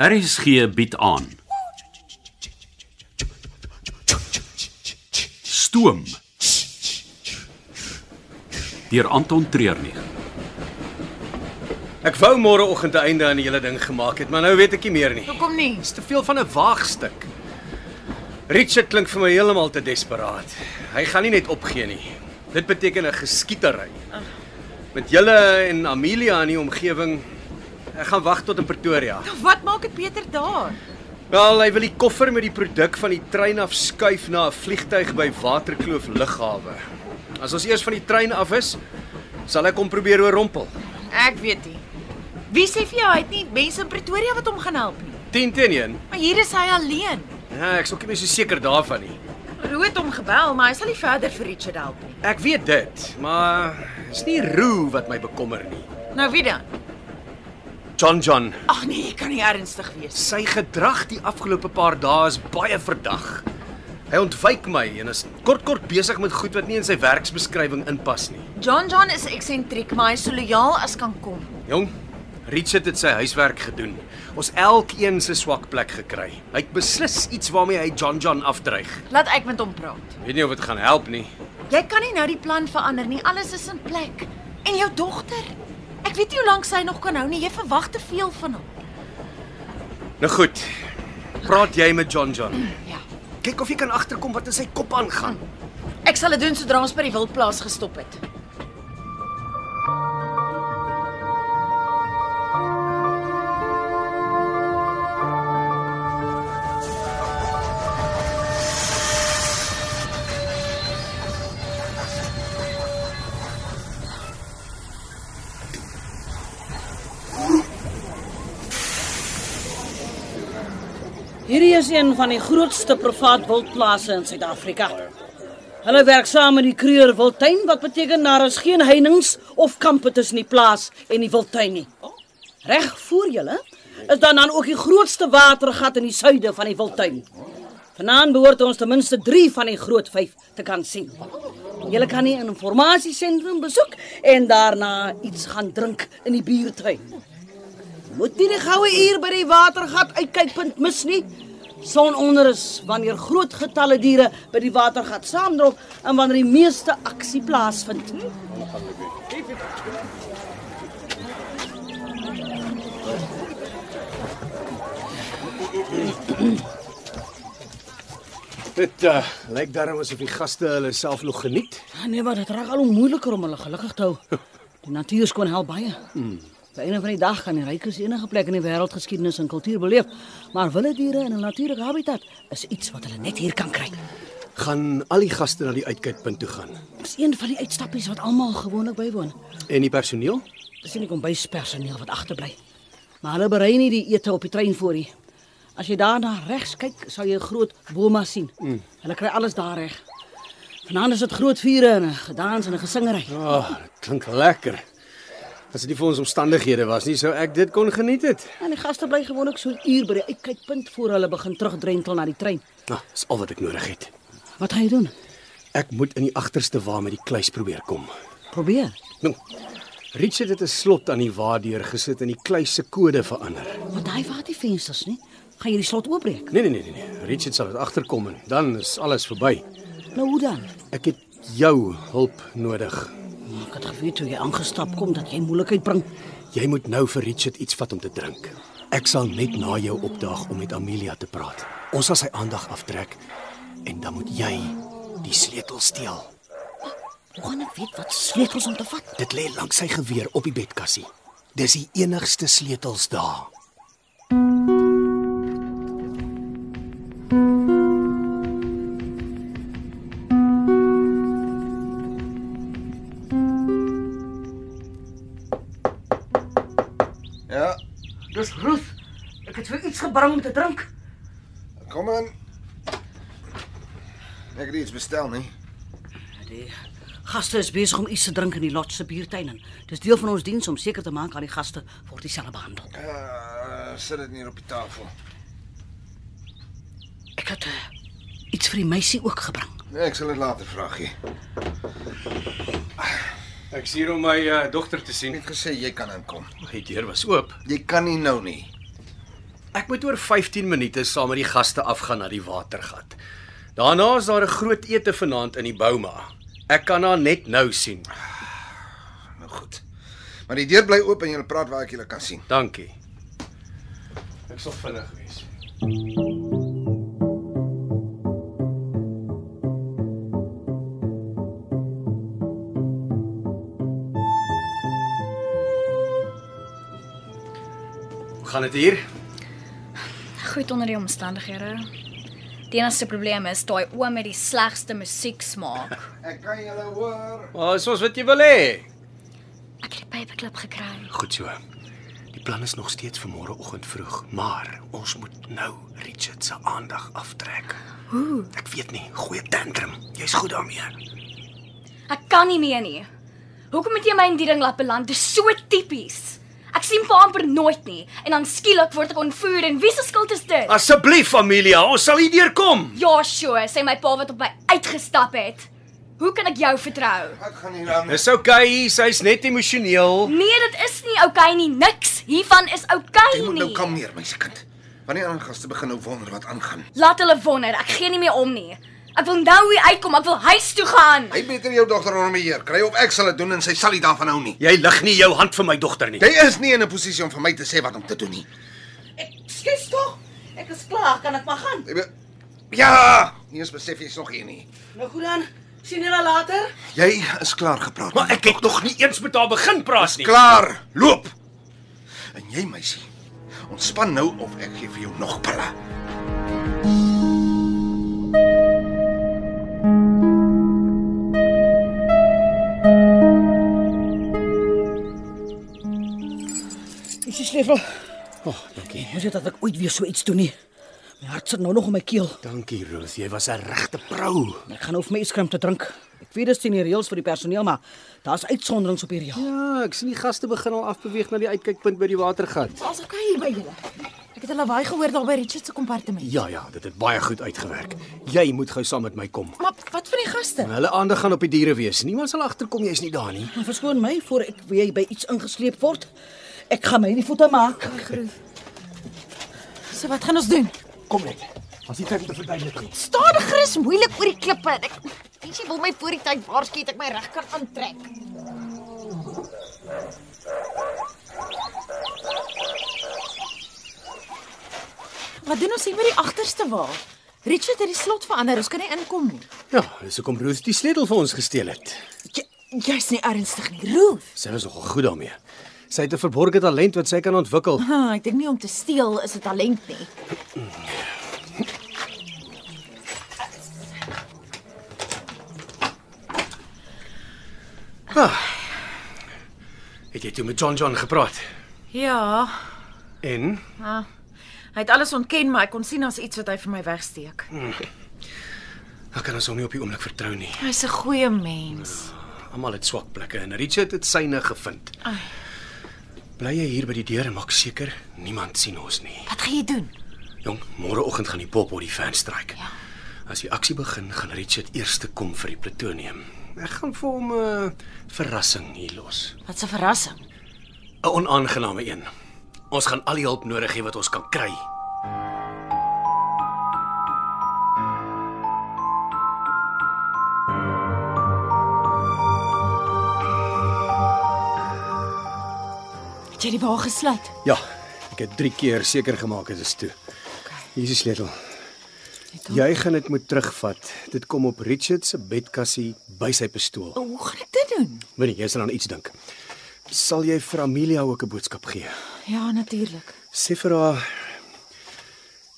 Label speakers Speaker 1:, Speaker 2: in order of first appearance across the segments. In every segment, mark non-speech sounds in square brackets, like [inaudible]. Speaker 1: RSG bied aan. Stoom. Deur Anton Treurnig.
Speaker 2: Ek wou môreoggend 'n einde aan die hele ding gemaak het, maar nou weet ek nie meer nie.
Speaker 3: Hoekom nie?
Speaker 2: Dis te veel van 'n waagstuk. Richard klink vir my heeltemal te desperaat. Hy gaan nie net opgee nie. Dit beteken 'n geskietery. Met julle en Amelia in die omgewing. Ek gaan wag tot in Pretoria.
Speaker 3: Wat maak dit beter daar?
Speaker 2: Wel, hy wil die koffer met die produk van die trein af skuif na 'n vliegtyg by Waterkloof lughawe. As ons eers van die trein af is, sal ek hom probeer oorrompel.
Speaker 3: Ek weet nie. Wie sê vir jou hy het nie mense in Pretoria wat hom gaan help nie?
Speaker 2: 10 teen 1.
Speaker 3: Maar hier is hy alleen.
Speaker 2: Ja, ek's ook nie meer so seker daarvan nie.
Speaker 3: Roo het hom gebel, maar hy sal nie verder vir Richard help nie.
Speaker 2: Ek weet dit, maar is nie Roo wat my bekommer nie.
Speaker 3: Nou wie dan?
Speaker 2: John John,
Speaker 3: Ag nee, jy kan nie ernstig wees.
Speaker 2: sy gedrag die afgelope paar dae is baie verdag. Hy ontwyk my en is kort kort besig met goed wat nie in sy werksbeskrywing inpas nie.
Speaker 3: John John is eksentriek, maar hy is so lojaal as kan kom.
Speaker 2: Jong, Richard het sy huiswerk gedoen. Ons elkeen se swak plek gekry. Hy het beslis iets waarmee hy John John afdreig.
Speaker 3: Laat ek met hom praat.
Speaker 2: Weet nie of dit gaan help nie.
Speaker 3: Jy kan nie nou die plan verander nie. Alles is in plek. En jou dogter? Ek weet nie hoe lank sy nog kan hou nie. Jy verwag te veel van hom.
Speaker 2: Nou goed. Praat jy met John John.
Speaker 3: Ja.
Speaker 2: Kyk of jy kan agterkom wat in sy kop aangaan.
Speaker 3: Ek sal dit doen sodra ons by die wildplaas gestop het.
Speaker 4: Hierdie is een van die grootste privaat wildplase in Suid-Afrika. Hulle werk saam met die Kreur Wildtuin wat beteken daar is geen heininge of kampe tussen die plaas en die wildtuin nie. Reg voor julle is dan dan ook die grootste watergat in die suide van die wildtuin. Vanaand behoort ons ten minste 3 van die groot 5 te kan sien. Julle kan die informasiesentrum besoek en daarna iets gaan drink in die buurthuis. Moet nie die goue uur by die watergat uitkykpunt mis nie. Sononder is wanneer groot getalle diere by die watergat saamdrop en wanneer die meeste aksie plaasvind.
Speaker 2: Dit uh, lyk daarom asof die gaste hulle self nog geniet.
Speaker 4: Nee, maar dit raak al hoe moeiliker om hulle gelukkig te hou. Die natuur skoon help baie. By een van die dag gaan die rykers enige plek in die wêreld geskiedenis en kultuur beleef, maar wilde diere in 'n natuurlike habitat is iets wat hulle net hier kan kry.
Speaker 2: Gaan al die gaste na die uitkykpunt toe gaan.
Speaker 4: Dit is een van die uitstappies wat almal gewoonlik bywoon.
Speaker 2: En die personeel?
Speaker 4: Dis nie kom byspersoneel wat agterbly. Maar hulle berei nie die ete op die trein voor nie. As jy daarna regs kyk, sal jy 'n groot boma sien. Mm. Hulle kry alles daar reg. Vanaand is dit groot vure en 'n gedans en 'n gesingery.
Speaker 2: Ja, oh, klink lekker. As dit nie vir ons omstandighede was nie, sou ek dit kon geniet het.
Speaker 4: En die gaste bly gewoonlik so 'n uur by die uitkykpunt voor hulle begin terugdrentel na die trein.
Speaker 2: Nou, dis al wat ek nodig het.
Speaker 4: Wat gaan jy doen?
Speaker 2: Ek moet in die agterste wa met die kluis probeer kom.
Speaker 4: Probeer.
Speaker 2: Nou, Richard het 'n slot aan die wa deur gesit en die kluis se kode verander.
Speaker 4: Want daai vat die vensters nie. Gaan jy die slot oopbreek?
Speaker 2: Nee nee nee nee, nee. Richard sal dit agterkom en dan is alles verby.
Speaker 4: Nou hoe dan?
Speaker 2: Ek het jou hulp nodig.
Speaker 4: Ek het geweet toe jy aangestap kom dat jy moeilikheid bring.
Speaker 2: Jy moet nou vir Richard iets vat om te drink. Ek sal net na jou opdaag om met Amelia te praat. Ons sal sy aandag aftrek en dan moet jy die sleutel steel.
Speaker 4: Hoe gaan ek weet wat sleutels om te vat?
Speaker 2: Dit lê langs sy geweer op die bedkassie. Dis die enigste sleutels daar.
Speaker 5: Ja,
Speaker 4: Dis Ruth. Ek het vir iets gebring om te drink.
Speaker 5: kom in. Ek het iets bestel nie.
Speaker 4: Die gaste is besig om iets te drink in die lodge se buurtuin en dis deel van ons diens om seker te maak al die gaste word dieselfde behandel.
Speaker 5: Uh, sit dit nie op die tafel.
Speaker 4: Ek het uh, iets vir die meisie ook gebring.
Speaker 5: Nee, ek sal dit later vra gee.
Speaker 2: Ek is hier om my uh, dogter te
Speaker 5: Ek
Speaker 2: sien.
Speaker 5: het gesê jy kan inkom.
Speaker 2: Die deur was oop.
Speaker 5: Jy kan nie nou nie.
Speaker 2: Ek moet oor 15 minute saam met die gaste afgaan na die watergat. Daarna is daar 'n groot ete vanaand in die Bouma. Ek kan haar net nou sien.
Speaker 5: Nou goed. Maar die deur bly oop en jy praat waar ek julle kan sien.
Speaker 2: Dankie. Ek sal vinnig wees. Hoe gaan dit hier?
Speaker 6: Goed onder die omstandighede. Die enigste probleem is daai oom met die slegste musieksmaak.
Speaker 5: Ek kan julle hoor.
Speaker 2: Maar is ons wat jy wil hê.
Speaker 6: Ek het die paperklip gekry.
Speaker 2: Goed so. Die plan is nog steeds vir môreoggend vroeg, maar ons moet nou Richard se aandag aftrek. Hoe? Ek weet nie, goeie tantrum. Jy's goed daarmee.
Speaker 6: Ek kan nie meer nie. Hoekom het jy my in die ding laat beland? Dis so tipies. Ek sien vir amper nooit nie en dan skielik word ek ontvoer en wie se skuld is dit?
Speaker 2: Asseblief, Amelia, ons sal hier deurkom.
Speaker 6: Ja, sure, sê my pa wat op my uitgestap het. Hoe kan ek jou vertrou?
Speaker 5: Ek gaan hier aan.
Speaker 2: Dis okay, sy's net emosioneel.
Speaker 6: Nee, dit is nie oukei okay nie. Niks hiervan is oukei
Speaker 5: Jy
Speaker 6: okay
Speaker 5: moet nou
Speaker 6: nie.
Speaker 5: kalmeer, my se kind. Wanneer ander gaste begin nou wonder wat aangaan.
Speaker 6: Laat hulle wonder. Ek gee nie meer om nie. Ek wil nou hier uitkom. Ek wil huis toe gaan.
Speaker 5: Hy beter jou dogter onder beheer kry of ek sal dit doen en sy sal nie daarvan hou nie.
Speaker 2: Jy lig nie jou hand vir my dogter nie.
Speaker 5: Jy is nie in 'n posisie om vir my te sê wat om te doen nie.
Speaker 4: Skus tog. Ek is klaar, kan ek maar gaan.
Speaker 5: Jy be- Ja, nie eens besef jy's nog hier nie.
Speaker 4: Nou goed dan. Sien julle later.
Speaker 5: Jy is klaar gepraat.
Speaker 2: Maar ek het nog nie eens met haar begin praat nie.
Speaker 5: klaar. Loop. En jy meisie, ontspan nou of ek gee vir jou nog pille.
Speaker 4: Dis die sleutel.
Speaker 2: Dankie.
Speaker 4: Moet dit dat ek ooit weer so iets doen nie. My hart sit nou nog in my keel.
Speaker 2: Dankie, Rose. Jy was 'n regte vrou.
Speaker 4: Ek gaan hoef my yskrem te drink. Ek weet dis teen die reëls vir die personeel, maar daar's uitsonderings op hierdie.
Speaker 2: Ja, ek sien die gaste begin al afbeweeg na die uitkykpunt by die watergat.
Speaker 3: Ons is okay hier by julle. Ek het hulle waai gehoor daar by Richard se kompartement.
Speaker 2: Ja ja, dit het baie goed uitgewerk. Jy moet gou saam met my kom.
Speaker 3: Maar wat van die gaste?
Speaker 2: Hulle aandag gaan op die diere wees. Niemand sal agterkom jy's nie daar nie.
Speaker 4: Maar Ja, verskoon my voor ek weer by iets ingesleep word. Ek gaan my nie voete maak.
Speaker 3: So wat gaan ons doen?
Speaker 2: Kom net. As jy tyd om te verduidelik nie.
Speaker 3: Stadig gerus, moeilik oor die klippe. Ek dink jy wil my voor die tyd waarsku dat ek my reg kan aantrek. Wat doen ons hier by die agterste wal? Richard het die slot verander, ons kan nie inkom nie.
Speaker 2: Ja, dis hoekom Ruth die sleutel vir ons gesteel het.
Speaker 3: Jy, jy's nie ernstig nie, Roof.
Speaker 2: Sy was nogal goed daarmee. Sy het 'n verborgde talent wat sy kan ontwikkel.
Speaker 3: Ha, ek dink nie om te steel is 'n talent nie.
Speaker 2: Het jy toe met John John gepraat?
Speaker 3: Ja,
Speaker 2: En
Speaker 3: ah, hy het alles ontken, maar ek kon sien daar's iets wat hy vir my wegsteek.
Speaker 2: ek kan ons hom nie op die oomblik vertrou nie.
Speaker 3: Hy's 'n goeie mens.
Speaker 2: Almal het swak plekke en Richard het syne gevind.
Speaker 3: Ai.
Speaker 2: Bly jy hier by die deur en maak seker niemand sien ons nie.
Speaker 3: Wat gaan jy doen?
Speaker 2: Jong, môreoggend gaan die pop op die fan stryk. Ja. As die aksie begin, gaan Richard eers te kom vir die plutonium. Ek gaan vir hom eh, 'n verrassing hier los.
Speaker 3: Wat 'n verrassing.
Speaker 2: 'n Onaangename een. Ons gaan al die hulp nodig hê wat ons kan kry.
Speaker 3: Het jy die wa gesluit?
Speaker 2: Ja, ek het 3 keer seker gemaak dit is toe. Hier is die sleutel. Jy gaan dit moet terugvat. Dit kom op Richard se bedkassie by sy pistool.
Speaker 3: Hoe gaan ek dit doen?
Speaker 2: Moenie jy sal aan iets dink. Sal jy vir Amelia ook 'n boodskap gee?
Speaker 3: Ja, natuurlik.
Speaker 2: Sê vir haar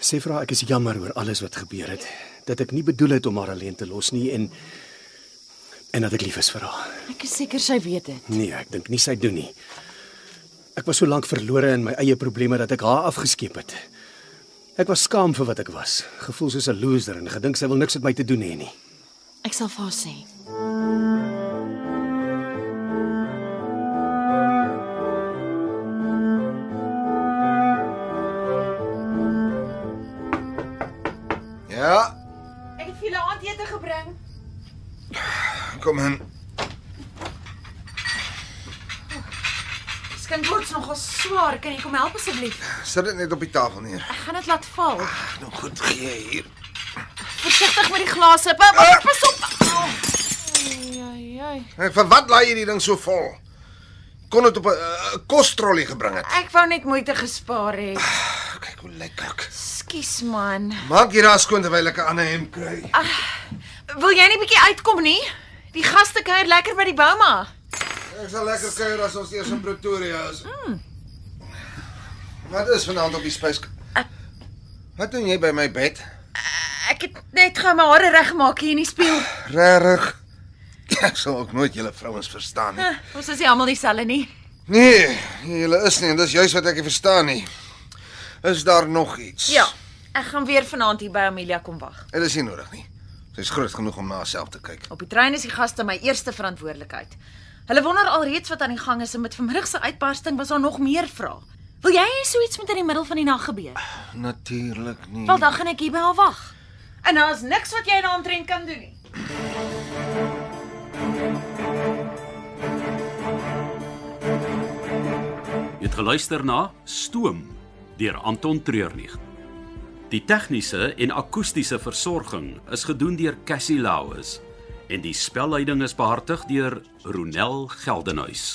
Speaker 2: Sê vir haar ek is jammer oor alles wat gebeur het. Dat ek nie bedoel het om haar alleen te los nie en en dat ek lief is vir haar.
Speaker 3: Ek is seker sy weet dit.
Speaker 2: Nee, ek dink nie sy doen nie. Ek was so lank verlore in my eie probleme dat ek haar afgeskeep het. Ek was skaam vir wat ek was, gevoel soos 'n loser en gedink sy wil niks met my te doen hê nie.
Speaker 3: Ek sal vir haar sê.
Speaker 5: Ja,
Speaker 7: Ek het vir julle aandete gebring.
Speaker 5: kom in.
Speaker 7: Skink word nog
Speaker 3: nogal swaar. Kan jy kom help asseblief?
Speaker 5: Sit dit net op die tafel neer.
Speaker 3: Ek gaan dit laat val.
Speaker 5: Ag, nou goed, gee hier.
Speaker 3: Versigtig met die glase. Pa- pa- Pas op. Ai ai.
Speaker 5: En vir wat laai jy die ding so vol? Kon dit op 'n eh, kostrollie gebring het.
Speaker 3: Ek wou net moeite gespaar hê.
Speaker 5: Ah, Kyk hoe lekker.
Speaker 3: Skus man.
Speaker 5: Maak jy daar skoon terwyl ek 'n ander hemp kry.
Speaker 3: Wil jy nie bietjie uitkom nie? Die gaste kuier lekker by die Bouma.
Speaker 5: Ek sal lekker kuier as ons eers in Pretoria is. Mm. Wat is vanaand op die spyskaart? Wat doen jy by my bed?
Speaker 3: Ek het net gou my hare reggemaak hier in die spieël.
Speaker 5: Regtig? Ek sal ook nooit julle vrouens verstaan nie.
Speaker 3: [laughs] Ons is nie almal dieselfde nie.
Speaker 5: Nee, julle is nie en dis juis wat ek nie verstaan nie. Is daar nog iets?
Speaker 3: Ja. Ek gaan weer vanaand hier by Amelia kom wag.
Speaker 5: Dit is nie nodig nie. Sy's groot genoeg om na haarself te kyk.
Speaker 3: Op die trein is die gaste my eerste verantwoordelikheid. Hulle wonder alreeds wat aan die gang is en met vanmiddag se uitbarsting was daar nog meer vrae. Wil jy hê so iets moet in die middel van die nag gebeur?
Speaker 5: Natuurlik nie.
Speaker 3: Wel dan gaan ek hier by haar wag. En daar's niks wat jy daaroontrent kan doen nie.
Speaker 1: Jy het geluister na Stoom deur Anton Treurnig. Die tegniese en akoestiese versorging is gedoen deur Cassie Lauis en die spelleiding is behartig deur Ronel Geldenhuys.